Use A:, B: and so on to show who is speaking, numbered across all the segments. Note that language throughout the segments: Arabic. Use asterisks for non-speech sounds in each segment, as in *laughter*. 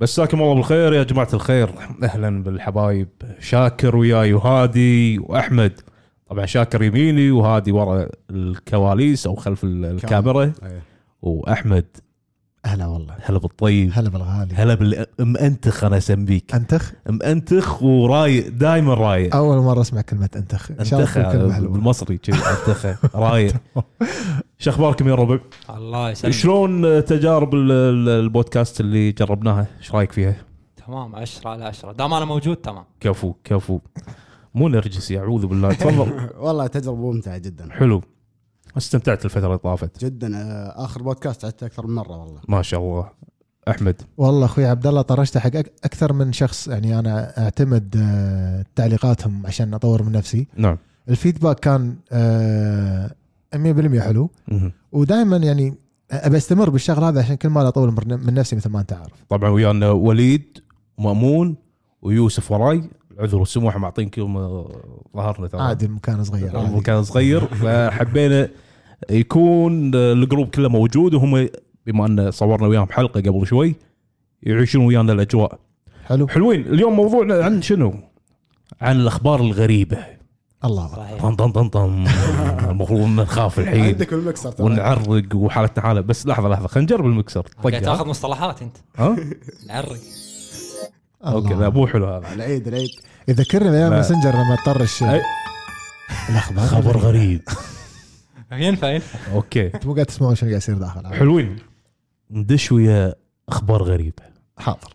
A: مساكم الله بالخير يا جماعة الخير أهلا بالحبايب شاكر وياي وهادي وأحمد طبعا شاكر يميني وهادي ورا الكواليس أو خلف ال- الكاميرا
B: إيه.
A: وأحمد
C: هلا والله
A: هلا بالطيب
C: هلا بالغالي
A: هلا بالمأنتخ أنا أسميك
C: انتخ
A: مأنتخ ورايق دايما رايق
C: اول مره اسمع كلمه انتخ ان شاء الله
A: أنتخ
C: تكون كلمه حلوه
A: بالمصري كذي أنتخ
C: *laughs*
A: رايق شو أخباركم يا ربع؟
D: الله يسلمك
A: شلون تجارب ال- ال- البودكاست اللي جربناها؟ ايش رايك فيها؟
D: تمام 10 على 10 دام انا موجود تمام
A: كفو كفو مو نرجسي اعوذ بالله تفضل
B: *laughs* والله تجربه ممتعه جدا
A: حلو استمتعت الفتره اللي طافت
B: جدا آه، اخر بودكاست عدته اكثر من مره والله
A: ما شاء الله احمد
C: والله اخوي عبد الله طرشته حق أك- اكثر من شخص يعني انا اعتمد آه، تعليقاتهم عشان اطور من نفسي
A: نعم
C: الفيدباك كان آه، 100% حلو
A: مهم.
C: ودائما يعني ابي استمر بالشغل هذا عشان كل ما اطور من- من نفسي مثل ما انت عارف
A: طبعا ويانا وليد ومامون ويوسف وراي العذر والسموح معطينكم آه، ظهرنا ترى
C: عادي المكان صغير عادي.
A: المكان صغير فحبينا يكون آه، الجروب كله موجود وهم بما ان صورنا وياهم حلقه قبل شوي يعيشون ويانا الاجواء
C: حلو
A: حلوين اليوم موضوعنا عن شنو؟ عن الاخبار الغريبه
C: الله أكبر.
D: صحيح
A: طن طن طن طن المفروض ان نخاف الحين
B: عندك المكسر ترى
A: ونعرق وحالتنا حاله بس لحظه لحظه خلينا نجرب المكسر
D: قاعد
A: طق
D: تاخذ مصطلحات انت
A: ها
D: العرق
A: اوكي
C: الله
A: لا مو حلو هذا
B: العيد العيد
C: يذكرني
A: لا.
C: بايام ماسنجر لما تطرش آه،
A: أي.
C: الاخبار
A: خبر غريب
D: *laughs* ينفع ينفع
A: اوكي
C: مو قاعد تسمعون شنو قاعد يصير داخل
A: حلوين ندش ويا اخبار غريبه
C: حاضر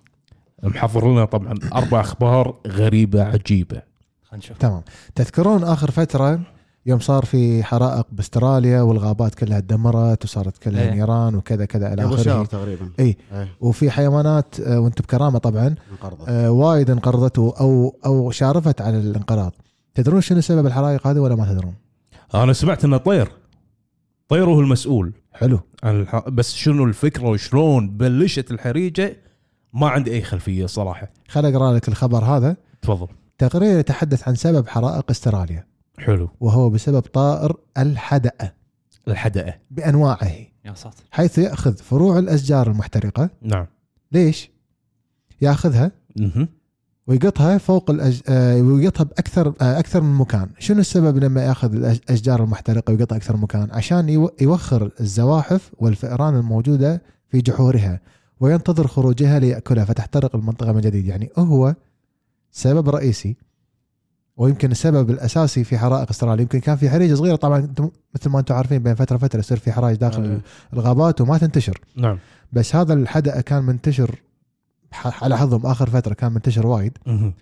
A: محضر لنا طبعا اربع اخبار غريبه عجيبه
D: خلينا نشوف
C: تمام تذكرون اخر فتره يوم صار في حرائق باستراليا والغابات كلها تدمرت وصارت كلها
D: إيه.
C: نيران وكذا كذا الى
B: قبل شهر
C: اخره
B: تقريبا
C: اي
B: ايه
C: وفي حيوانات آه، وانت بكرامه طبعا
B: انقرضت
C: آه، وايد انقرضت و- او او شارفت على الانقراض تدرون شنو سبب الحرائق هذه ولا ما تدرون؟
A: انا سمعت انه طير طير هو المسؤول
C: حلو
A: عن الح... بس شنو الفكره وشلون بلشت الحريقه ما عندي اي خلفيه صراحه
C: خل اقرا لك الخبر هذا
A: تفضل
C: تقرير يتحدث عن سبب حرائق استراليا
A: حلو
C: وهو بسبب طائر الحدأة
A: الحدقه
C: بانواعه
D: يا ساتر
C: حيث ياخذ فروع الاشجار المحترقه
A: نعم
C: ليش؟ ياخذها
A: مهم.
C: ويقطها فوق الأج... آه، ويقطها باكثر آه، اكثر من مكان، شنو السبب لما ياخذ الأش- الاشجار المحترقه ويقطها اكثر من مكان؟ عشان يو- يوخر الزواحف والفئران الموجوده في جحورها وينتظر خروجها لياكلها فتحترق المنطقه من جديد، يعني هو سبب رئيسي ويمكن السبب الاساسي في حرائق استراليا، يمكن كان في حريقه صغيره طبعا أنتم- مثل ما انتم عارفين بين فتره فتره يصير في حرائق داخل
B: أيوة.
C: الغابات وما تنتشر،
A: نعم
C: بس هذا الحدأ كان منتشر ح- على حظهم اخر فتره كان منتشر وايد
A: مهم.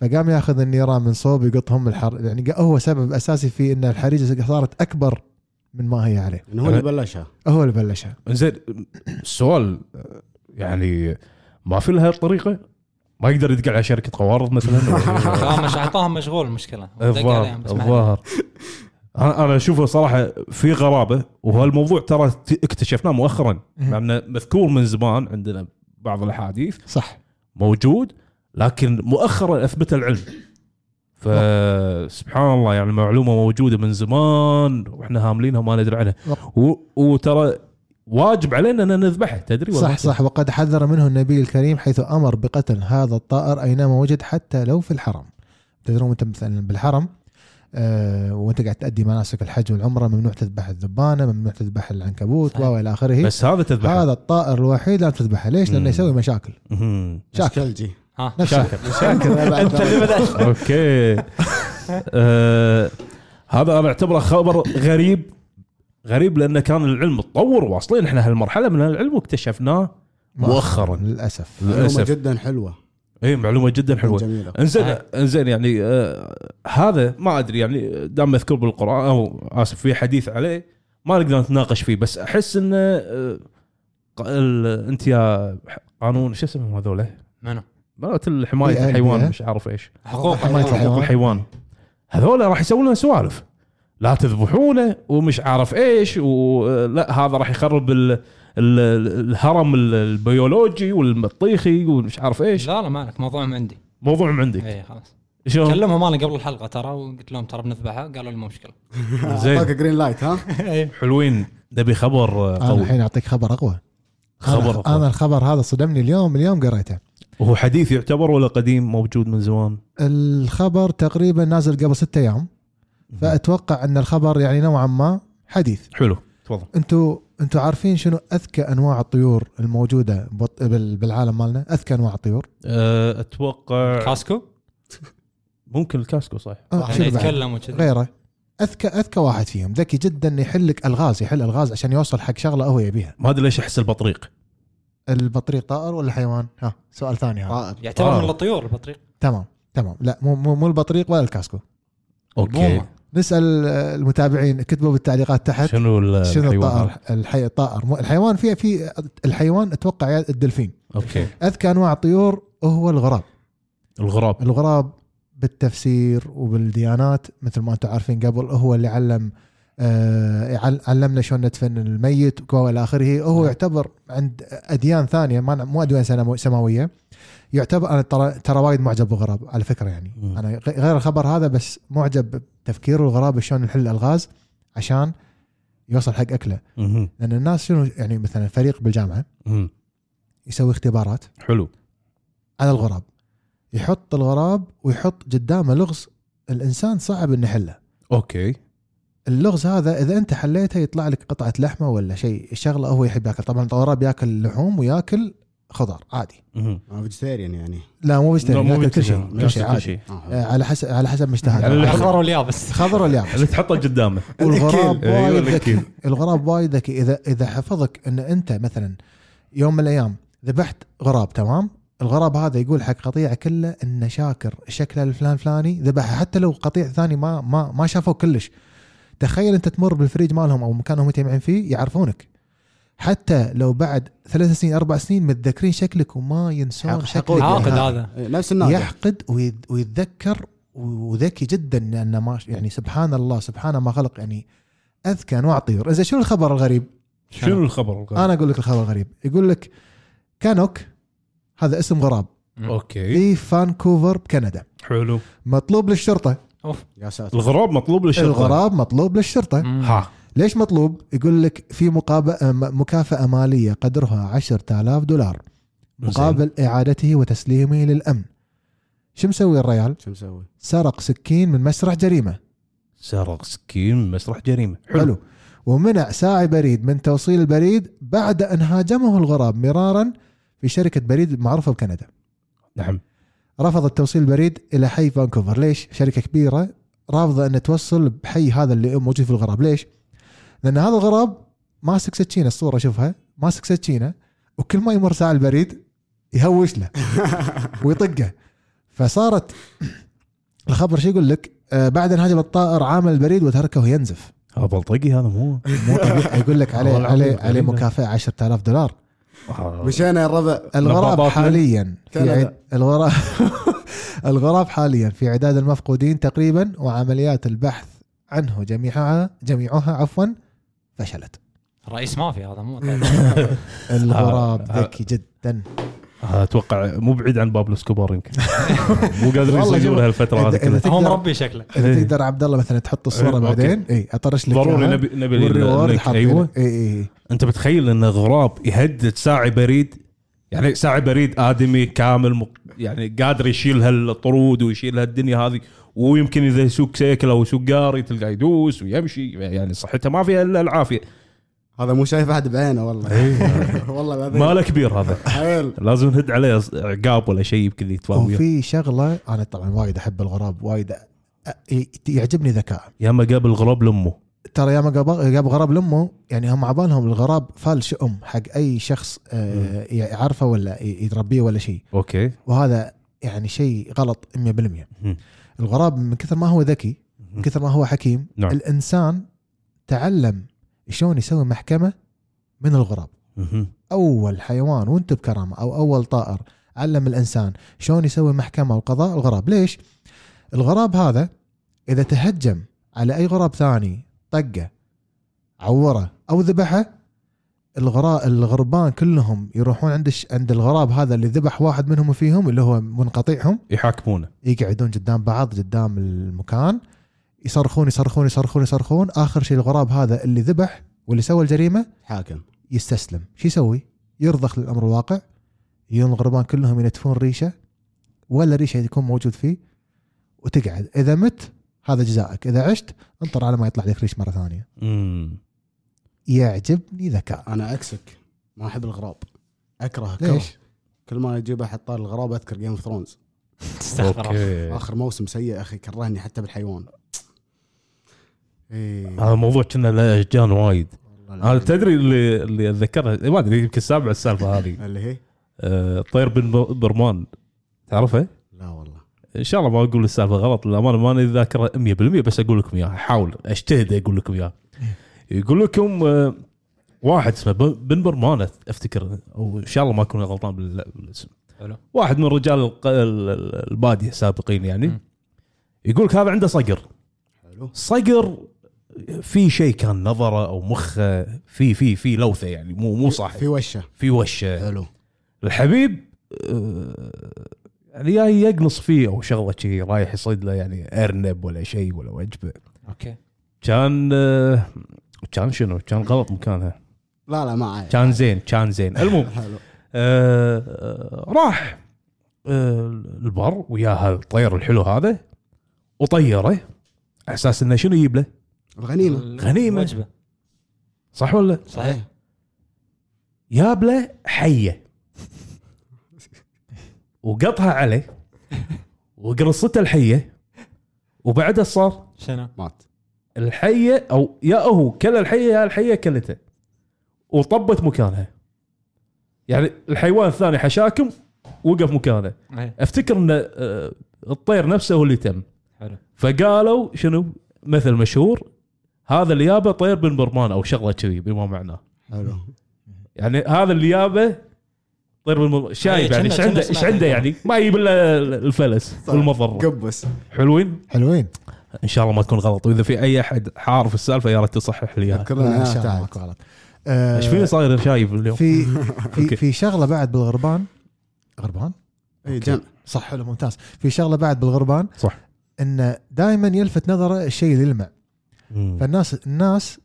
C: فقام ياخذ النيران من صوب يقطهم الحر يعني قا- هو سبب اساسي في ان الحريقه صارت اكبر من ما هي عليه
B: انه هو
A: أه.
B: اللي بلشها
C: هو اللي بلشها
A: زين السؤال يعني ما في لها الطريقه ما يقدر يدق على شركه قوارض مثلا
D: لا، مش عطاهم مشغول المشكله دق
A: الظاهر
D: عليهم بس ما علينا.
A: الظاهر انا أنا اشوفه صراحه في غرابه وهالموضوع ترى ت- اكتشفناه مؤخرا
C: مهم.
A: لانه مذكور من زمان عندنا بعض الاحاديث
C: صح
A: موجود لكن مؤخرا اثبت العلم
C: نعم.
A: فسبحان الله يعني معلومه موجوده من زمان واحنا هاملينها ما ندري عنها
C: نعم.
A: و... وترى واجب علينا ان نذبحه تدري ولا
C: صح
A: ما تدري؟
C: صح وقد حذر منه النبي الكريم حيث امر بقتل هذا الطائر اينما وجد حتى لو في الحرم تدرون انت مثلا بالحرم آه وانت قاعد تادي مناسك الحج والعمره ممنوع تذبح الذبانه ممنوع تذبح العنكبوت
D: صحيح.
C: و الى اخره
A: بس هذا تذبحه
C: هذا الطائر الوحيد لا تذبحه ليش؟
A: مم.
C: لانه يسوي مشاكل
A: مهم.
C: شاكر
B: شكلجي
D: ها
C: نفسه
A: شاكر
C: *laughs*
D: انت اللي بدات
A: اوكي *laughs* آه، هذا انا اعتبره خبر غريب غريب لانه كان العلم تطور واصلين احنا هالمرحله من العلم واكتشفناه مؤخرا
C: للاسف
B: معلومه
A: للاسف
B: جدا حلوه
A: اي معلومه جدا حلوه *laughs*
B: جميله
A: انزين
D: صحيح.
A: انزين يعني آه هذا ما ادري يعني دام مذكور بالقران او اسف في حديث عليه ما نقدر نتناقش فيه بس احس انه آه ق- ال- انت يا ح- قانون شو اسمهم هذول؟
D: منو
A: مرات الحمايه
C: بيئة-
A: الحيوان
C: بيئة.
A: مش عارف ايش
D: حقوق
C: حماية
A: حقوق
C: الحيوان
A: الحيوان هذول راح يسوون لنا سوالف لا تذبحونه ومش عارف ايش ولا هذا راح يخرب ال... ال... الهرم ال- البيولوجي والمطيخي ومش عارف ايش
D: لا لا ما عليك موضوعهم عندي
A: موضوعهم عندك
D: اي خلاص
A: شلون
D: كلمهم انا قبل الحلقه ترى وقلت لهم ترى بنذبحها قالوا لي مو مشكله
A: زين.
B: آه، اعطاك جرين لايت ها
D: *laughs* إيه.
A: حلوين نبي خبر آه،
C: انا
A: قوي
C: الحين اعطيك خبر اقوى
A: خبر
C: انا الخبر هذا صدمني اليوم اليوم قريته
A: هو حديث يعتبر ولا قديم موجود من زمان
C: الخبر تقريبا نازل قبل ستة ايام فاتوقع ان الخبر يعني نوعا ما حديث
A: حلو تفضل
C: انتوا انتوا عارفين شنو اذكى انواع الطيور الموجوده بط- بال- بالعالم مالنا اذكى انواع الطيور
A: أه، اتوقع
D: كاسكو
A: ممكن الكاسكو صح
C: آه،
D: يعني
C: شنو بعد؟
D: يتكلم وكذا
C: غيره اذكى اذكى واحد فيهم ذكي جدا يحل لك الغاز يحل الغاز عشان يوصل حق شغله هو يبيها
A: ما ادري ليش احس البطريق
C: البطريق طائر ولا حيوان ها سؤال ثاني هذا
B: طائر
D: يعتبر
A: آه.
D: من الطيور البطريق
C: تمام تمام لا مو مو, مو البطريق ولا الكاسكو
A: اوكي
D: البومة.
C: نسال آه، المتابعين كتبوا بالتعليقات تحت
A: شنو ال-
C: شنو
A: الحيوان
C: الطائر الحي... الطائر مو- الحيوان فيها في الحيوان اتوقع يا- الدلفين
A: اوكي
C: اذكى انواع الطيور هو الغراب
A: الغراب
C: الغراب بالتفسير وبالديانات مثل ما انتم عارفين قبل هو اللي علم آه، يعل- علمنا شلون ندفن الميت والى اخره هو يعتبر عند اديان ثانيه ما مو اديان سنمو- سماويه يعتبر انا ترى ترى وايد معجب بالغراب على فكره يعني
A: مم.
C: انا غ- غير الخبر هذا بس معجب بتفكير الغراب شلون يحل الغاز عشان يوصل حق اكله
A: مهم.
C: لان الناس شنو يعني مثلا فريق بالجامعه
A: مهم.
C: يسوي اختبارات
A: حلو
C: على الغراب يحط الغراب ويحط قدامه لغز الانسان صعب انه يحله
A: اوكي
C: اللغز هذا اذا انت حليته يطلع لك قطعه لحمه ولا شيء الشغله هو يحب ياكل طبعا الغراب ياكل لحوم وياكل خضار عادي
A: مهم.
B: فيجيتيريان يعني
C: لا مو
A: لا،
C: فيجيتيريان
A: مو
C: ياكل كل
A: vegetarian.
C: شيء كل شيء
A: ياكل كل
C: عادي
A: شيء يعني
C: آه،
B: آه.
C: على حسب على حسب ما
A: على
C: اشتهى
A: اللحم.
D: الاخضر واليابس
C: خضر ولا يابس
A: اللي تحطه
C: *laughs*
A: قدامه
C: والغراب
A: الكيل. أيوة،
C: وايد ذكي
A: الكيل.
C: الغراب وايد ذكي اذا اذا حفظك ان انت مثلا يوم من الايام ذبحت غراب تمام الغراب هذا يقول حق قطيعه كله انه شاكر شكله الفلان فلاني ذبحه حتى لو قطيع ثاني ما ما ما شافوه كلش تخيل انت تمر بالفريج مالهم او مكانهم يتجمعون فيه يعرفونك حتى لو بعد ثلاث سنين اربع سنين متذكرين شكلك وما ينسون
B: حق-
C: شكلك
B: حقود.
D: عاقد
B: *laughs*
D: هذا
B: إيه، نفس النادر
C: يحقد ويت- ويتذكر وذكي جدا لانه ما يعني سبحان الله سبحان ما خلق يعني اذكى انواع الطيور، اذا شنو الخبر الغريب؟
A: شنو الخبر الغراب؟
C: انا اقول لك الخبر الغريب، يقول لك كانوك هذا اسم غراب
A: اوكي
C: في فانكوفر بكندا
A: حلو
C: مطلوب للشرطه،
B: يا ساتر
A: الغراب مطلوب للشرطه
C: الغراب مطلوب للشرطه،
D: مم.
A: ها
C: ليش مطلوب؟ يقول لك في مقابل آه، مكافاه ماليه قدرها 10000 دولار مقابل اعادته وتسليمه للامن. شو مسوي الريال؟
B: شو مسوي؟
C: سرق سكين من مسرح جريمه
A: سرق سكين من مسرح جريمه
C: حلو, حلو. ومنع ساعي بريد من توصيل البريد بعد ان هاجمه الغراب مرارا في شركه بريد معروفه بكندا
A: نعم
C: رفضت توصيل البريد الى حي فانكوفر ليش شركه كبيره رافضه ان توصل بحي هذا اللي موجود في الغراب ليش لان هذا الغراب ماسك سكينه الصوره شوفها ماسك سكينه وكل ما يمر ساعه البريد يهوش له ويطقه فصارت *clears throat* الخبر شو يقول لك آه، بعد ان هاجم الطائر عامل البريد وتركه ينزف
A: هذا بلطجي هذا مو *laughs*
C: مو طبيعي *laughs* يقول لك عليه
A: والله
C: عليه
A: العظيم
C: عليه
A: غريبة.
C: مكافاه 10000 دولار
A: آه،
B: مشينا يا الربع
C: الغراب
A: نبضات من
C: حاليا في
B: كندا.
C: عد... الغراب *laughs* الغراب حاليا في عداد المفقودين تقريبا وعمليات البحث عنه جميعها جميعها عفوا فشلت
D: الرئيس مافيا هذا مو طيب.
C: الغراب
A: آه.
C: ذكي جدا
A: آه، اتوقع مو بعيد عن بابلو سكوبار *laughs* يمكن مو قادرين
C: والله شوف.
A: يسجلون هالفتره هذه
C: إذا- إذا
A: كلها
C: تقدر-
D: هو مربي شكله
C: اذا تقدر عبد الله مثلا تحط الصوره
A: إيه. أوكي.
C: بعدين اي اطرش لك
A: ضروري
C: إياها.
A: نبي نبي
C: والريورد إيه،
A: لك- ايوه
C: اي اي
A: انت بتخيل ان غراب يهدد ساعي بريد يعني ساعي بريد ادمي كامل مق... يعني قادر يشيل هالطرود ويشيل هالدنيا هذه ويمكن اذا يسوق سيكل او سجاري تلقاه يدوس ويمشي يعني صحته ما فيها الا العافيه
B: هذا مو شايف احد بعينه والله
A: إيه.
B: *laughs* والله العظيم.
A: ماله كبير هذا
B: حيل
A: لازم نهد عليه أص- عقاب ولا شيء يمكن يتفاهم وياه.
C: وفي شغله انا طبعا وايد احب الغراب وايد أ- أ- يعجبني ذكائه
A: يا ما قابل غراب لامه
C: ترى ياما قاب جاب غراب لامه يعني هم عبالهم الغراب فالش ام حق اي شخص آه، يعرفه ولا ي- يربيه ولا شيء
A: اوكي
C: وهذا يعني شيء غلط 100%
A: مم.
C: الغراب من كثر ما هو ذكي من كثر ما هو حكيم
A: نعم.
C: الانسان تعلم شلون يسوي محكمه من الغراب
A: مهم.
C: اول حيوان وانت بكرامه او اول طائر علم الانسان شلون يسوي محكمه وقضاء الغراب ليش الغراب هذا اذا تهجم على اي غراب ثاني طقه عوره او ذبحه الغراء الغربان كلهم يروحون عند الش- عند الغراب هذا اللي ذبح واحد منهم فيهم اللي هو منقطيعهم
A: يحاكمونه
C: يقعدون قدام بعض قدام المكان يصرخون يصرخون يصرخون يصرخون اخر شيء الغراب هذا اللي ذبح واللي سوى الجريمه
B: حاكم
C: يستسلم شو يسوي يرضخ للامر الواقع يجون الغربان كلهم ينتفون ريشه ولا ريشه يكون موجود فيه وتقعد اذا مت هذا جزائك اذا عشت انطر على ما يطلع لك ريش مره ثانيه
A: امم
C: يعجبني ذكاء
B: انا اكسك ما احب الغراب اكره كره.
C: ليش؟
B: كل ما اجيب احط طار الغراب اذكر جيم اوف ثرونز
D: تستغفر الله.
A: إيه.
B: اخر موسم سيء اخي كرهني حتى بالحيوان ايه
A: هذا الموضوع كنا له اشجان وايد
B: والله
A: انا
B: العظيم.
A: آه، تدري اللي اللي اتذكرها ما ادري يمكن السابع السالفه هذه *laughs*
B: اللي هي
A: آه، طير بن بر- برمان تعرفه؟
B: لا والله
A: ان شاء الله ما اقول السالفه غلط للامانه ما انا ذاكره 100% بس اقول لكم اياها احاول اجتهد اقول لكم اياها يقول لكم آه، واحد اسمه بن بن برمان أت- افتكر او ان شاء الله ما اكون غلطان بال- بالاسم
D: حلو.
A: واحد من رجال الق- ال- ال- الباديه السابقين يعني
D: مم.
A: يقول لك هذا عنده صقر
B: حلو
A: صقر في شيء كان نظره او مخه في في في لوثه يعني مو مو صح
B: في وشه
A: في وشه
B: حلو
A: الحبيب آه، يعني يا يقنص فيه او شغله شي رايح يصيد له يعني ارنب ولا شيء ولا وجبه
D: اوكي
A: كان آه، كان شنو كان غلط مكانها
B: لا لا ما عاد
A: كان زين كان زين المهم
B: حلو
A: آه، آه، راح آه، البر ويا هالطير الحلو هذا وطيره على اساس انه شنو يجيب له
B: الغنيمه
A: غنيمة.
D: وجبه
A: صح ولا
D: صحيح
A: جاب له حيه وقطها عليه وقرصته الحيه وبعدها صار
D: شنو؟
B: مات
A: الحيه او يا هو كل الحيه يا الحيه كلته وطبت مكانها يعني الحيوان الثاني حشاكم وقف مكانه
D: إيه،
A: افتكر ان آه، الطير نفسه هو اللي تم
D: حلو
A: فقالوا شنو مثل مشهور هذا اللي جابه طير بن برمان او شغله كذي بما معناه
B: حلو
A: يعني هذا اللي جابه طير بالمر... شايب
D: إيه،
A: يعني
D: كنا-
A: ايش
D: كنا
A: عنده ايش
D: سمعت
A: عنده يعني ما يجيب الا الفلس والمضر
B: قبس
A: حلوين
C: حلوين
A: ان شاء الله ما اكون غلط واذا في اي احد حارف السالفه يا ريت تصحح لي اياها
B: ذكرنا
C: إن شاء
B: إياها
C: الله
B: تعال
C: ماكو غلط. آه،
A: ايش فيني صاير شايب اليوم
C: في
A: *laughs* أوكي.
C: في في شغله بعد بالغربان غربان
B: اي إيه، جمع
C: صح حلو ممتاز في شغله بعد بالغربان
A: صح.
C: انه دائما يلفت نظره الشيء اللي يلمع
A: مم.
C: فالناس الناس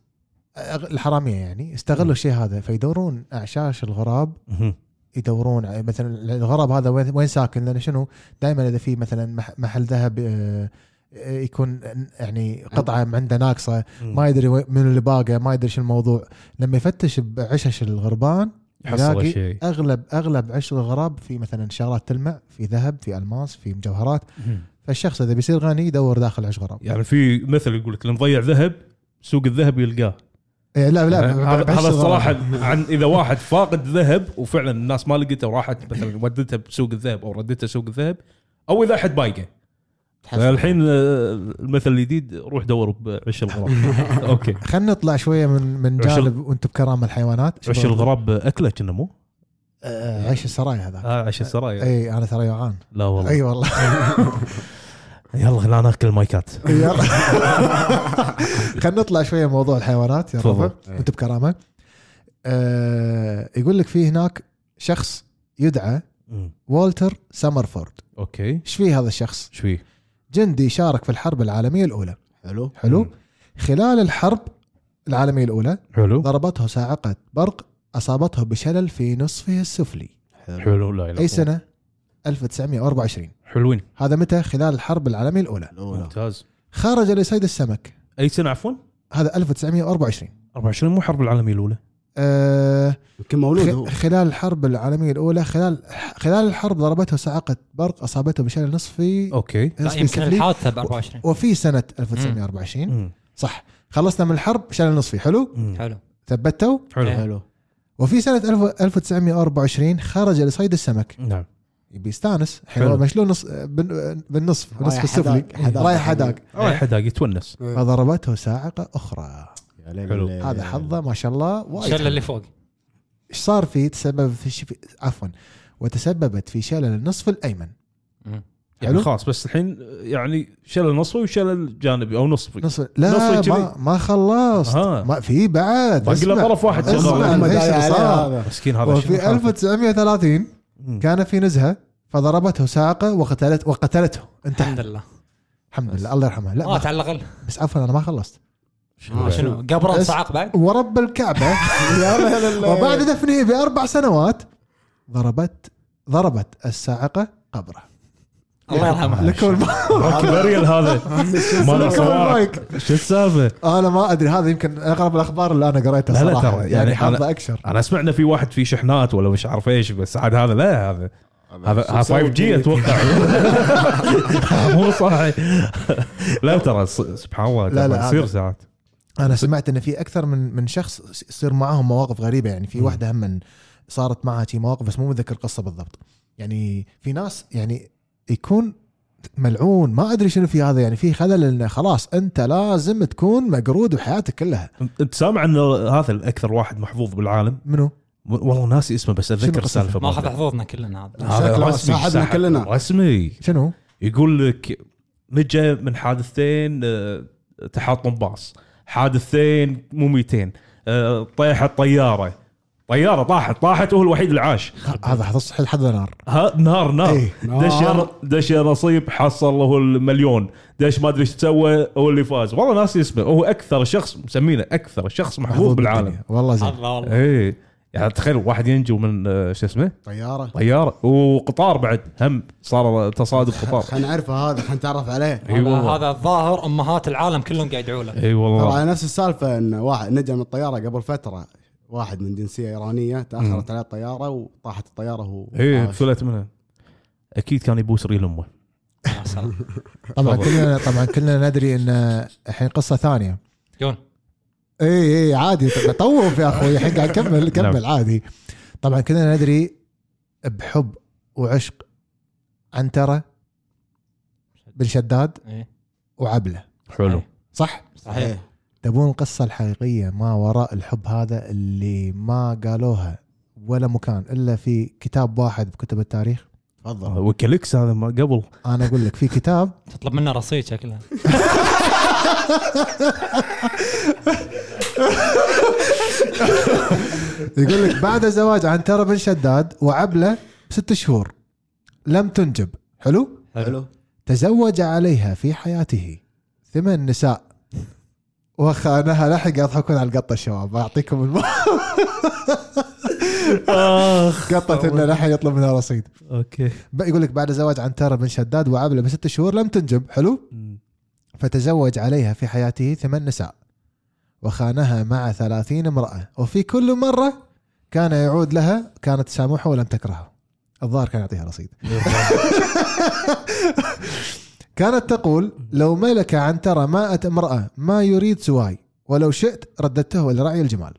C: أغ- الحراميه يعني استغلوا الشيء هذا فيدورون اعشاش الغراب
A: مهم.
C: يدورون على- مثلا الغراب هذا وين وين ساكن لانه شنو دائما اذا في مثلا مح- محل ذهب آه، آه، يكون يعني قطعه عنده ناقصه ما يدري وين- من اللي باقى ما يدري شو الموضوع لما يفتش بعشش الغربان
A: يحصل
C: يلاقي
A: شيء
C: اغلب اغلب عشر الغراب في مثلا شغلات تلمع في ذهب في الماس في مجوهرات فالشخص اذا بيصير غني يدور داخل عشر غراب
A: يعني في مثل يقول لك اللي مضيع ذهب سوق الذهب يلقاه
C: إيه لا لا
A: يعني هذا
C: بعشر
A: هذا
C: الغراب.
A: الصراحه عن اذا واحد فاقد ذهب وفعلا الناس ما لقيته وراحت مثلا ودته بسوق الذهب او ردته سوق الذهب او اذا احد بايقه الحين آه، المثل الجديد روح دور بعش
C: *laughs*
A: الغراب اوكي
C: خلينا نطلع شويه من من
A: عش
C: جانب وانتم بكرامه الحيوانات
A: عش الغراب اكله كنا مو؟
C: آه، عيش السراي هذا إيه،
A: آه عش السرايا
C: اي انا ترى جوعان
A: لا والله
C: اي والله
A: يلا خلينا ناكل مايكات
C: يلا *laughs* خلينا نطلع شويه موضوع الحيوانات يا
A: تفضل.
C: رفع وانت بكرامه آه، يقول لك في هناك شخص يدعى
A: مم.
C: والتر سمرفورد
A: اوكي
C: ايش فيه هذا الشخص
A: ايش فيه؟
C: جندي شارك في الحرب العالمية الأولى
B: حلو
C: حلو
A: مم.
C: خلال الحرب العالمية الأولى
A: حلو
C: ضربته صاعقة برق أصابته بشلل في نصفه السفلي
A: حلو لا إله
C: أي
A: إلا
C: سنة 1924
A: الله. حلوين
C: هذا متى خلال الحرب العالمية الأولى
B: الاولى
A: ممتاز
C: خرج لصيد السمك
A: اي سنه عفوا؟
C: هذا 1924
A: 24 مو الحرب العالميه الاولى
C: أه
B: يمكن مولود هو
C: خ- خلال الحرب العالمية الأولى خلال خلال الحرب ضربته صاعقة برق أصابته بشلل نصفي
A: اوكي
D: لا
C: نصفي
D: يمكن
C: السفلي
D: الحادثه ب 24
C: وفي سنة 1924
A: مم.
C: صح خلصنا من الحرب شلل نصفي حلو
A: مم.
D: حلو
C: ثبتوا
A: حلو
D: إيه.
B: حلو
C: وفي سنة 1000 1924 خرج لصيد السمك
A: نعم
C: يبي يستانس الحين
A: حلو.
C: هو مشلول نص بن- بالنصف
B: رايح
C: نصف السفلي
B: حداك- حداك.
C: رايح حداك
D: إيه.
A: رايح حداق يتونس
C: فضربته صاعقة أخرى
B: يا ليل
A: حلو.
B: الليل.
C: هذا حظه ما شاء الله وايد
D: شل
C: حلو.
D: اللي فوق
C: ايش صار فيه تسبب في ش... في- عفوا وتسببت في شلل النصف الأيمن
D: مم.
A: يعني
C: حلو.
A: خلاص بس الحين يعني شلل نصفي وشلل جانبي او نصفي
C: نصف
A: نصفي
C: لا
A: كذي.
C: ما, ما خلصت
A: ها.
C: ما في بعد
A: باقي له
C: اسمع.
A: طرف واحد شغال.
C: اسمع
A: اللهم
C: ايش
B: داعي عليه
C: صار
B: هذا.
A: مسكين هذا شنو
C: وفي
A: حركة؟
C: 1930
A: مم.
C: كان في نزهه فضربته ساعقه وقتلت وقتلته انت
D: الحمد لله
C: الحمد لله الله يرحمه لا
D: مات
C: ما
D: على الاقل
C: بس عفوا انا ما خلصت
A: يعني؟
B: آه،
D: شنو قبره
C: بس-
D: صعق بعد
A: *laughs*
C: ورب الكعبه
B: لا لا لا لا.
C: وبعد دفنه باربع سنوات ضربت ضربت الصاعقه قبره
D: الله يرحمه
C: لكم الم-
A: روكي باريال
C: *laughs*
A: هذا مال
C: لكم
A: الصواعق
C: المايك.
A: شو السالفه؟
C: انا ما ادري هذا يمكن اغرب الاخبار اللي انا قريتها
A: لا لا
C: صراحه
A: ترى،
C: يعني,
A: يعني أنا-
C: يعني حظه اكشر
A: انا سمعنا في واحد في شحنات ولا مش عارف ايش بس عاد هذا لا هذا هذا 5 جي اتوقع *laughs* مو صحيح لا ترى س- سبحان الله
C: لا، لا،
A: ترى يصير
C: هذا-
A: ساعات
C: انا سمعت ان في اكثر من من شخص يصير معاهم مواقف غريبه يعني في
A: مم.
C: واحده هم من صارت معها شي مواقف بس مو متذكر القصه بالضبط يعني في ناس يعني يكون ملعون ما ادري شنو في هذا يعني في خلل انه خلاص انت لازم تكون مقرود بحياتك كلها
A: انت سامع ان هذا الاكثر واحد محظوظ بالعالم
C: منو
A: والله ناسي اسمه بس
C: شنو
A: اتذكر
C: قصته؟
A: السالفه
D: ما
A: مرة.
D: اخذ حظوظنا كلنا هذا
A: هذا
B: شكله
A: رسمي
B: ساعدنا
A: ساعد.
B: كلنا.
A: رسمي
C: شنو
A: يقول لك نجا من حادثتين آه، تحطم باص حادثتين مو 200 آه، طيحت طياره طياره طاحت طاحت وهو الوحيد اللي عاش
C: هذا حتصحي لحد نار
A: ها نار نار
C: إيه،
B: نار.
A: دش يا- دش يا نصيب حصل له المليون دش ما ادري ايش سوى هو اللي فاز والله ناسي اسمه هو اكثر شخص مسمينه اكثر شخص محبوب بالعالم
C: بالدنيا. والله زين
D: الله والله
A: اي يعني تخيل واحد ينجو من آه، شو اسمه
B: طياره
A: طياره وقطار بعد هم صار تصادم قطار
B: خلينا نعرفه هذا خلينا نتعرف عليه
A: اي
D: هذا-
A: والله
D: هذا الظاهر امهات العالم كلهم قاعد
A: *laughs*
D: يدعوا له
A: اي والله
B: ترى نفس السالفه ان واحد نجا من الطياره قبل فتره واحد من جنسيه ايرانيه تاخرت عليه الطياره وطاحت الطياره وهو آه،
A: اي
B: عاش.
A: فلت منها اكيد آه، كان يبوس ريل امه
D: يا سلام.
C: طبعا
A: تفضل.
C: كلنا طبعا كلنا ندري ان الحين قصه ثانيه
D: يون
C: اي اي إيه، عادي طب طوف يا اخوي الحين قاعد كمل كمل عادي طبعا كلنا ندري بحب وعشق عنتره بن شداد
D: إيه.
C: وعبله
A: حلو
C: صح؟
D: صحيح
C: تبون القصه الحقيقيه ما وراء الحب هذا اللي ما قالوها ولا مكان الا في كتاب واحد بكتب التاريخ
A: آه،
B: تفضل
A: وكليكس هذا ما قبل
C: انا اقول لك في كتاب
D: تطلب منه رصيد شكلها
C: يقول لك بعد زواج عنترة بن شداد وعبلة ست شهور لم تنجب حلو
B: حلو
C: تزوج عليها في حياته ثمان نساء وخانها لحق يضحكون على القطة الشباب أعطيكم الم...
A: اخ
C: قطة إنه لحق يطلب منها رصيد
A: اوكي
C: ب- يقول لك بعد زواج عنترة بن شداد وعبلة بست شهور لم تنجب حلو فتزوج عليها في حياته ثمان نساء وخانها مع ثلاثين امرأة وفي كل مرة كان يعود لها كانت تسامحه ولم تكرهه الظاهر كان يعطيها رصيد *laughs* كانت تقول لو ملك عنترة مائة امرأة ما يريد سواي ولو شئت رددته إلى رعي الجمال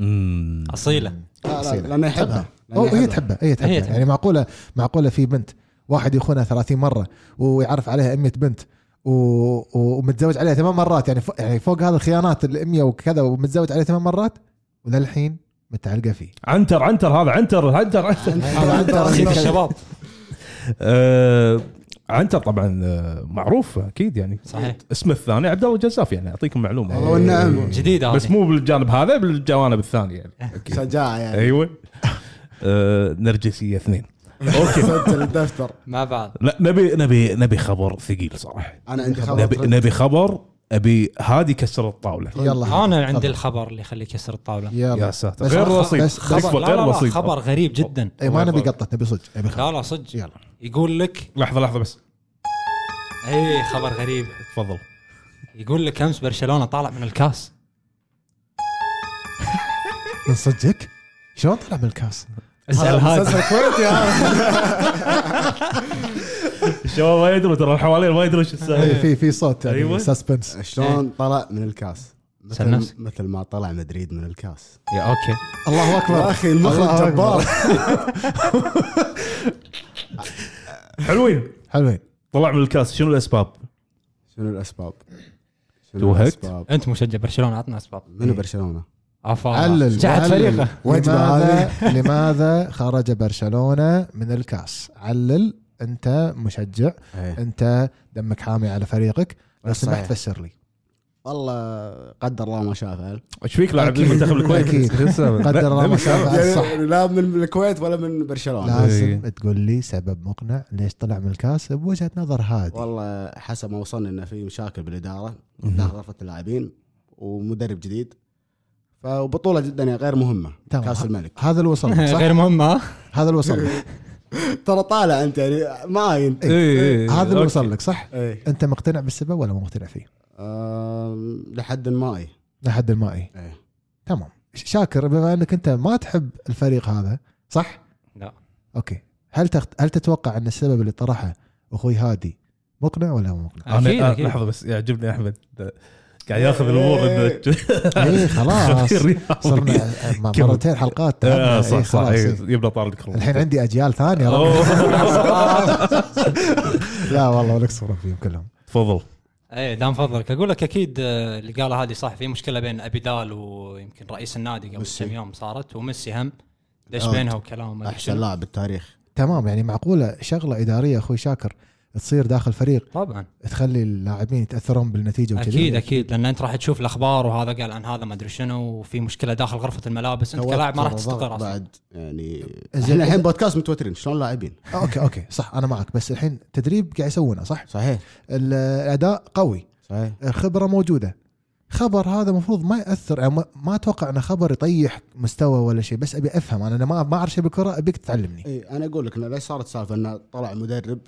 A: أمم.
C: إيه.
D: اصيله
B: لا، لا،
C: أصيلة.
B: لأنه يحبها. لأنه
C: أو هي
B: يحبها.
C: تحبه هي تحبه
D: هي تحبها.
C: يعني معقولة معقولة في بنت واحد يخونها 30 مرة ويعرف عليها 100 بنت و... و- ومتزوج عليها ثمان مرات يعني فوق يعني فوق هذا الخيانات ال 100 وكذا ومتزوج عليها ثمان مرات وللحين متعلقة فيه
A: عنتر عنتر هذا عنتر عنتر عنتر
C: طبعاً أنت
D: رصيد
C: رصيد.
D: الشباب
A: آه، عنتر طبعا آه، معروف اكيد يعني
D: صحيح
A: اسمه الثاني عبد الله الجزاف يعني اعطيكم معلومه
B: والله والنعم
D: جديده
A: بس
D: هذه
A: مو بالجانب هذا بالجوانب الثاني يعني أكيد.
B: شجاعه *laughs* يعني
A: ايوه آه، نرجسيه اثنين اوكي
B: سجل الدفتر
D: مع بعض
A: لا نبي نبي نبي خبر ثقيل صراحه
B: انا عندي خبر
A: نبي نبي خبر ابي هادي كسر الطاوله
C: يلا
D: انا عندي
C: تفضل.
D: الخبر اللي يخليك يكسر الطاوله
A: يا
C: يلا
A: ساتر
C: بس
A: غير
C: خ-
A: رصيد
C: بس خبر-
A: تكفى،
D: لا
A: غير
D: لا لا
A: رصيد
D: خبر غريب جدا
C: اي ما نبي
A: يلا.
C: قطة نبي صدق نبي خبر.
D: لا لا صدق
C: يلا
D: يقول لك
A: لحظه لحظه بس
D: اي إيه، خبر غريب
A: تفضل
D: يقول لك امس برشلونه طالع من الكاس
C: من صدقك شلون طلع من الكاس؟
D: اسال هذا
B: كويتي
A: *laughs*
B: هذا
A: الشباب ما يدروا ترى الحوالين ما يدروا ايش
C: إيه،
A: السالفه
C: في في صوت يعني
A: أيوة.
C: سسبنس
B: شلون طلع من الكاس
D: سل
B: مثل
D: نفسك.
B: مثل ما طلع مدريد من الكاس
D: يا اوكي
C: الله اكبر
B: يا اخي المخرج
C: الله أكبر.
B: جبار
A: حلوين
C: حلوين
A: طلع من الكاس شنو الاسباب؟
B: شنو الاسباب؟ شنو
A: توهقت؟
B: الاسباب؟
D: انت مشجع برشلونه عطنا اسباب
B: منو برشلونه؟
D: افا
C: علل
D: شجعت
C: علل.
D: فريقه
B: وجبة
C: لماذا لماذا خرج برشلونه من الكاس؟ علل انت مشجع
B: إيه.
C: انت دمك حامي على فريقك لو
B: صحيح.
C: سمحت فسر لي
B: والله قدر الله ما شاء فعل
A: ايش فيك لاعب
C: أكيد.
A: المنتخب الكويتي؟
C: أكيد. قدر الله ما شاء فعل صح
B: يعني لا من الكويت ولا من برشلونه
C: لازم تقول لي سبب مقنع ليش طلع من الكاس بوجهه نظر هادي
B: والله حسب ما وصلنا انه في مشاكل بالاداره
A: مهم.
B: داخل غرفه اللاعبين ومدرب جديد فبطوله جدا يعني غير مهمه
C: تمام.
B: كاس الملك
C: هذا اللي وصلنا صح؟
B: *laughs*
D: غير مهم ها
C: هذا اللي وصل لك
B: ترى طالع انت يعني معاي انت إيه.
A: اي
C: إيه. هذا اللي وصل لك صح؟
B: ايه
C: انت مقتنع بالسبب ولا مو مقتنع فيه؟
B: آم، لحد ما اي
C: لحد ما اي
B: إيه.
C: تمام ش- شاكر بما انك انت ما تحب الفريق هذا صح؟
D: لا
C: اوكي هل تخت... هل تتوقع ان السبب اللي طرحه اخوي هادي مقنع ولا مو مقنع؟
D: اكيد
A: انا آه،
D: اكيد
A: لحظه بس يعجبني احمد ده قاعد ياخذ الامور *laughs*
B: إيه.
C: اي خلاص
A: خبير يا أخوي.
C: صرنا آه، م- مرتين حلقات
A: آه، صح
C: إيه،
A: صح
C: خلاص،
A: إيه،
C: إيه.
A: يبدا طار الكروم
C: الحين عندي اجيال ثانيه
D: *laughs*
C: لا والله ولك صوره فيهم كلهم
A: *laughs* تفضل
D: ايه دام فضلك اقول لك اكيد آه، اللي قاله هذه صح في مشكله بين ابيدال ويمكن رئيس النادي قبل
B: ميسي.
D: كم يوم صارت وميسي هم دش
B: آه.
D: بينها وكلام ما أدري
B: احسن
D: شنو.
B: لاعب بالتاريخ
C: تمام يعني معقوله شغله اداريه اخوي شاكر تصير داخل فريق
D: طبعا
C: تخلي اللاعبين يتاثرون بالنتيجه وكذا
D: اكيد اكيد لان انت راح تشوف الاخبار وهذا قال عن هذا ما ادري شنو وفي مشكله داخل غرفه الملابس انت كلاعب ما راح
B: توتر
D: تستقر
B: وضغط
D: اصلا
B: بعد يعني
C: زين.
B: احنا الحين بودكاست متوترين شلون لاعبين
C: اوكي اوكي صح انا معك بس الحين تدريب قاعد يسوونه صح؟
B: صحيح
C: ال- الاداء قوي
B: صحيح
C: الخبره موجوده خبر هذا المفروض ما ياثر يعني ما- ما اتوقع انه خبر يطيح مستوى ولا شيء بس ابي افهم انا أنا ما ما اعرف شيء بالكره ابيك تعلمني
B: اي انا اقول إيه، لك انه ليش صارت سالفه انه طلع مدرب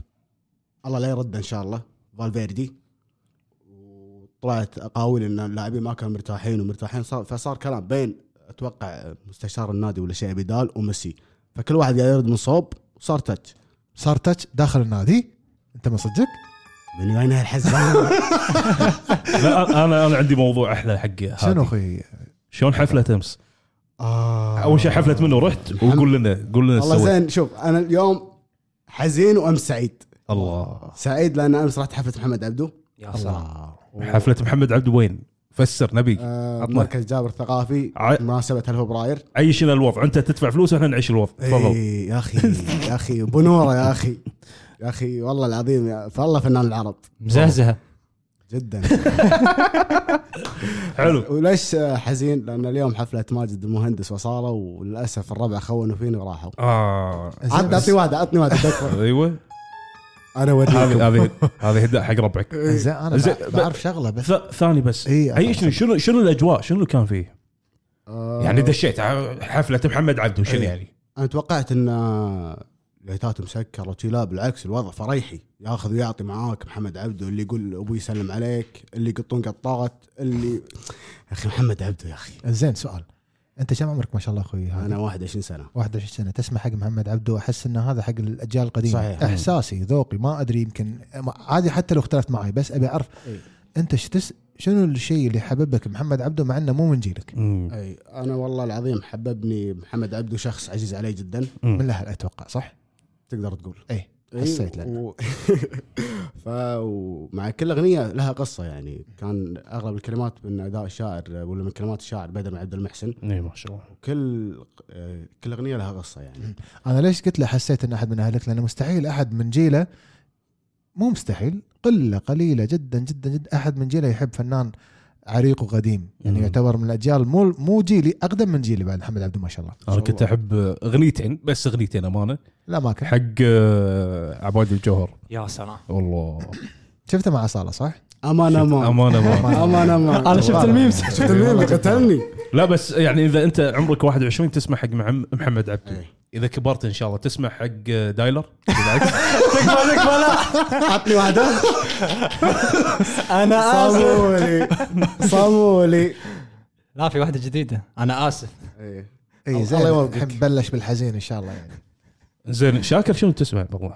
B: الله لا يرده ان شاء الله فالفيردي وطلعت اقاويل ان اللاعبين ما كانوا مرتاحين ومرتاحين صار فصار كلام بين اتوقع مستشار النادي ولا شيء بدال وميسي فكل واحد قاعد يرد من صوب وصار تاتش
C: صار تاتش داخل النادي انت من صدقك؟
B: من وين هالحزان؟
A: لا انا انا عندي موضوع احلى حق هذه.
C: شنو اخوي؟
A: شلون حفله امس؟
B: آه.
A: اول شيء حفله منه رحت وقول لنا قول لنا
B: والله
A: سويت
B: زين شوف انا اليوم حزين وامس سعيد
A: الله
B: سعيد لان امس رحت حفله محمد عبدو
D: يا سلام
A: حفله محمد عبد وين؟ فسر نبي
B: آه،
A: عطنا.
B: مركز جابر الثقافي
A: ع-
B: مناسبه فبراير
A: عيش لنا الوضع انت تدفع فلوس واحنا نعيش الوضع
C: إيه.
A: تفضل
B: اي إيه، يا اخي يا اخي بنوره يا اخي يا اخي والله العظيم يا فالله فنان العرب
D: مزهزهه
B: جدا
A: حلو
B: *laughs* وليش آه، حزين؟ لان اليوم حفله ماجد المهندس وصاله وللاسف الربع خونوا فيني *laughs* وراحوا
C: آه.
A: اه
B: عاد اعطني واحده اعطني واحده *laughs* دكتور.
A: ايوه
B: انا
A: هذه
B: اوريكم
A: هذه هذه هداء حق
C: *laughs*
A: ربعك
B: إيه.
C: زين انا
A: زين،
C: بع- بعرف شغله بس
A: ث- ثاني بس
C: إي،
A: عيشني شنو شنو الاجواء شنو اللي كان فيه؟
B: آه،
A: يعني دشيت ع- حفله محمد عبده شنو
B: إي.
C: إيه.
A: يعني؟
B: انا توقعت ان آه، لايتات مسكره وشي لا بالعكس الوضع فريحي ياخذ ويعطي معاك محمد عبده اللي يقول ابوي يسلم عليك اللي يقطون قطات اللي يا اخي محمد عبده يا اخي
C: زين سؤال انت كم عمرك ما شاء الله اخوي؟ هذا؟
B: انا 21 سنه
C: 21 سنه تسمع حق محمد عبده احس ان هذا حق الاجيال القديمه
B: صحيح.
C: احساسي ذوقي ما ادري يمكن ما- عادي حتى لو اختلفت معي بس ابي اعرف
B: إي.
C: انت شتس شنو الشيء اللي حببك محمد عبده مع انه مو من جيلك
A: مم.
B: اي انا والله العظيم حببني محمد عبده شخص عزيز علي جدا
A: مم.
C: من الاهل اتوقع صح؟
B: تقدر تقول إيه،
C: ايه
B: إي،
C: حسيت لأنه.
B: و... *laughs* ف ومع كل اغنيه لها قصه يعني كان اغلب الكلمات من اداء الشاعر ولا من كلمات الشاعر بدر بن عبد المحسن
A: اي إيه، ما شاء الله
B: كل آه، كل اغنيه لها قصه يعني
C: انا ليش قلت له حسيت ان احد من اهلك لانه مستحيل احد من جيله مو مستحيل قله قليله جدا جدا جدا احد من جيله يحب فنان عريق وقديم يعني
A: مم.
C: يعتبر من الاجيال مو مو جيلي اقدم من جيلي بعد محمد عبده ما شاء الله
A: انا
B: شاء
A: كنت
B: الله.
A: احب اغنيتين بس اغنيتين امانه
C: لا ما كان
A: حق آه، عباد الجوهر
D: يا سلام
A: والله
C: شفته مع صاله صح؟
B: امانه ما
A: امانه ما
B: امانه ما
D: أنا شفت الميمز.
B: شفت الميم قتلني
A: لا بس يعني اذا انت عمرك 21 تسمع حق معم- محمد عبده
B: إيه.
A: اذا كبرت ان شاء الله تسمع حق آه، دايلر *laughs*
B: عطني واحده
D: انا
B: صامولي صامولي
D: لا في واحده جديده انا اسف
B: إي.
C: اي
B: الله
C: إيه، زين
B: يوفقك.
C: الحين بلش بالحزين ان شاء الله يعني
A: زين شاكر شنو تسمع والله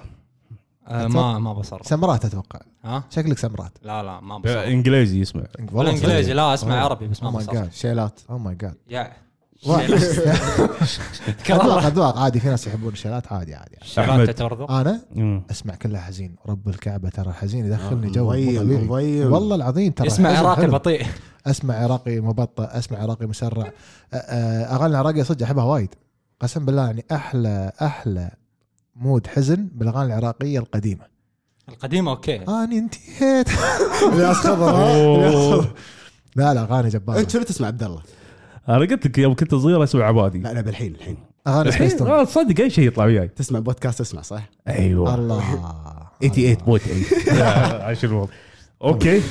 D: آه ما ما بصر
C: سمرات اتوقع
D: ها
C: شكلك سمرات
D: لا لا ما بصر
A: انجليزي يسمع
D: ولا انجليزي لا اسمع عربي بس
C: او
D: ما
C: ماي
D: بصر
C: جاد
B: شيلات
C: او ماي جاد
D: يا *laughs*
C: اذواق
D: كرارة.
C: اذواق عادي في ناس يحبون الشيلات عادي عادي
A: أحمد.
D: شغال تتورط
C: انا
A: مم.
C: اسمع كلها حزين رب الكعبه ترى حزين يدخلني جو مو
B: مضيم،
C: طبيعي.
B: مضيم.
C: والله العظيم ترى
D: اسمع
C: حزن
D: عراقي
C: حلو.
D: بطيء
C: اسمع عراقي مبطئ اسمع عراقي مسرع أ- أ- اغاني العراقيه صدق احبها وايد قسم بالله يعني احلى احلى مود حزن بالاغاني العراقيه القديمه
D: القديمه اوكي
A: *laughs*
C: اني انتهيت
B: الياس خضر ها؟ الياس خضر.
C: *laughs* لا لا اغاني جباره
B: انت شنو تسمع عبد الله؟
A: انا قلت لك يوم كنت صغير اسمع عبادي
B: لا لا بالحين الحين
C: اغاني
A: الحين
C: سبيستون
A: آه، تصدق اي شيء يطلع وياي
B: تسمع بودكاست اسمع صح؟ أيوه.
A: ايوه
C: الله
A: *laughs* 88.8 عاش الوضع اوكي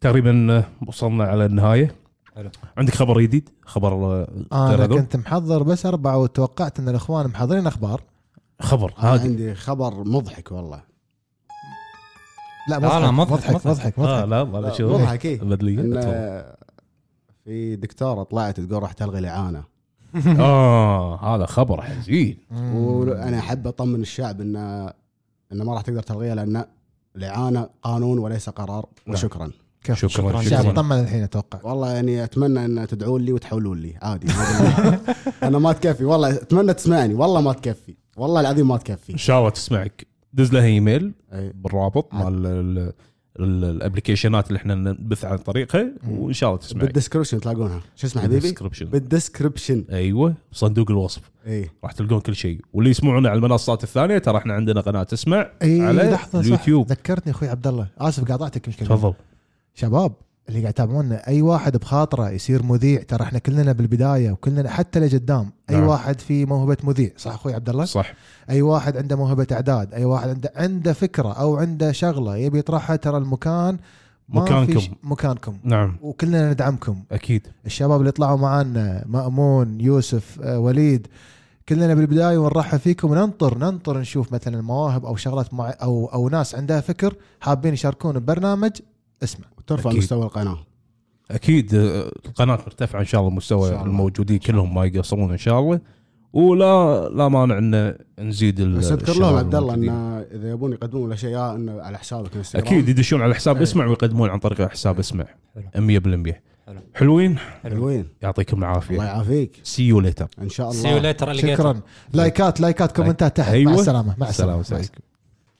A: تقريبا وصلنا على النهايه
D: حلو.
A: عندك خبر جديد خبر آه، غير
C: انا
A: هذول؟
C: كنت محضر بس اربعه وتوقعت ان الاخوان محضرين اخبار
A: خبر
B: انا
A: هادي
B: آه، عندي خبر مضحك والله
C: لا
D: لا، لا،
C: مضحك
D: مضحك،
C: مضحك
D: مضحك.
C: مضحك
A: آه
C: مضحك
A: لا ما أدري شو
B: مضحك ايه
A: بدليه
B: إن
A: تفضل.
B: في دكتوره طلعت تقول راح تلغي الاعانه
A: اه هذا خبر حزين
C: مم.
B: وانا احب اطمن الشعب انه انه ما راح تقدر تلغيها لان الاعانه قانون وليس قرار
A: نعم.
B: وشكرا
C: كيف؟
A: شكرا
D: شكراً.
C: الشعب
A: شكرا
C: طمن الحين اتوقع
B: والله يعني اتمنى ان تدعون لي وتحولون لي
A: *laughs*
B: عادي هذا اللي- انا ما تكفي والله اتمنى تسمعني والله ما تكفي والله العظيم ما
A: ان
B: تكفي إيه.
A: شاء الله تسمعك دز لها ايميل
B: أي.
A: بالرابط مع ال- ال- ال- الابلكيشنات اللي احنا نبث عن طريقها وان شاء الله تسمعك
B: بالدسكربشن تلاقونها شو اسمه حبيبي
A: بالدسكربشن.
B: بالدسكربشن إيه.
A: ايوه صندوق الوصف
B: اي
A: راح تلقون كل شيء واللي يسمعونا على المنصات الثانيه ترى احنا عندنا قناه اسمع
B: إيه،
C: اي
A: على
C: لحظه
A: اليوتيوب
C: صح ذكرتني اخوي عبد الله اسف قاطعتك مشكله
A: تفضل
C: شباب اللي قاعد يتابعونا اي واحد بخاطره يصير مذيع ترى احنا كلنا بالبدايه وكلنا حتى لقدام اي
A: نعم.
C: واحد في موهبه مذيع صح اخوي عبد الله
A: صح
C: اي واحد عنده موهبه اعداد اي واحد عنده عنده فكره او عنده شغله يبي يطرحها ترى المكان ما في
A: مكانكم.
C: ش- مكانكم
A: نعم
C: وكلنا ندعمكم
A: اكيد
C: الشباب اللي طلعوا معانا مأمون يوسف آه، وليد كلنا بالبدايه ونرحب فيكم وننطر ننطر نشوف مثلا مواهب او شغلات مع او او ناس عندها فكر حابين يشاركون ببرنامج اسمع
B: ترفع
A: أكيد.
B: مستوى القناه
A: اكيد آه، القناه مرتفعه ان شاء الله
B: إن
A: مستوى
B: شاء الله.
A: الموجودين كلهم ما يقصرون ان شاء الله ولا لا مانع ان نزيد ال-
B: بس اذكر
A: الشباب
B: لهم عبد الله
A: الموجودين.
B: انه اذا يبون يقدمون ولا شيء يا انه على حسابك انستغرام
A: اكيد يدشون على حساب
B: إيه.
A: اسمع ويقدمون عن طريق حساب اسمع
D: حلو.
A: 100%
D: حلو.
A: حلوين
B: حلوين
A: يعطيكم
B: الله
A: العافيه
B: يعافيك
A: سي يو ليتر
B: ان شاء الله
D: سي يو ليتر
C: شكرا لايكات لايكات كومنتات تحت مع
A: أيوة.
C: السلامه مع السلامه
A: السلام عليكم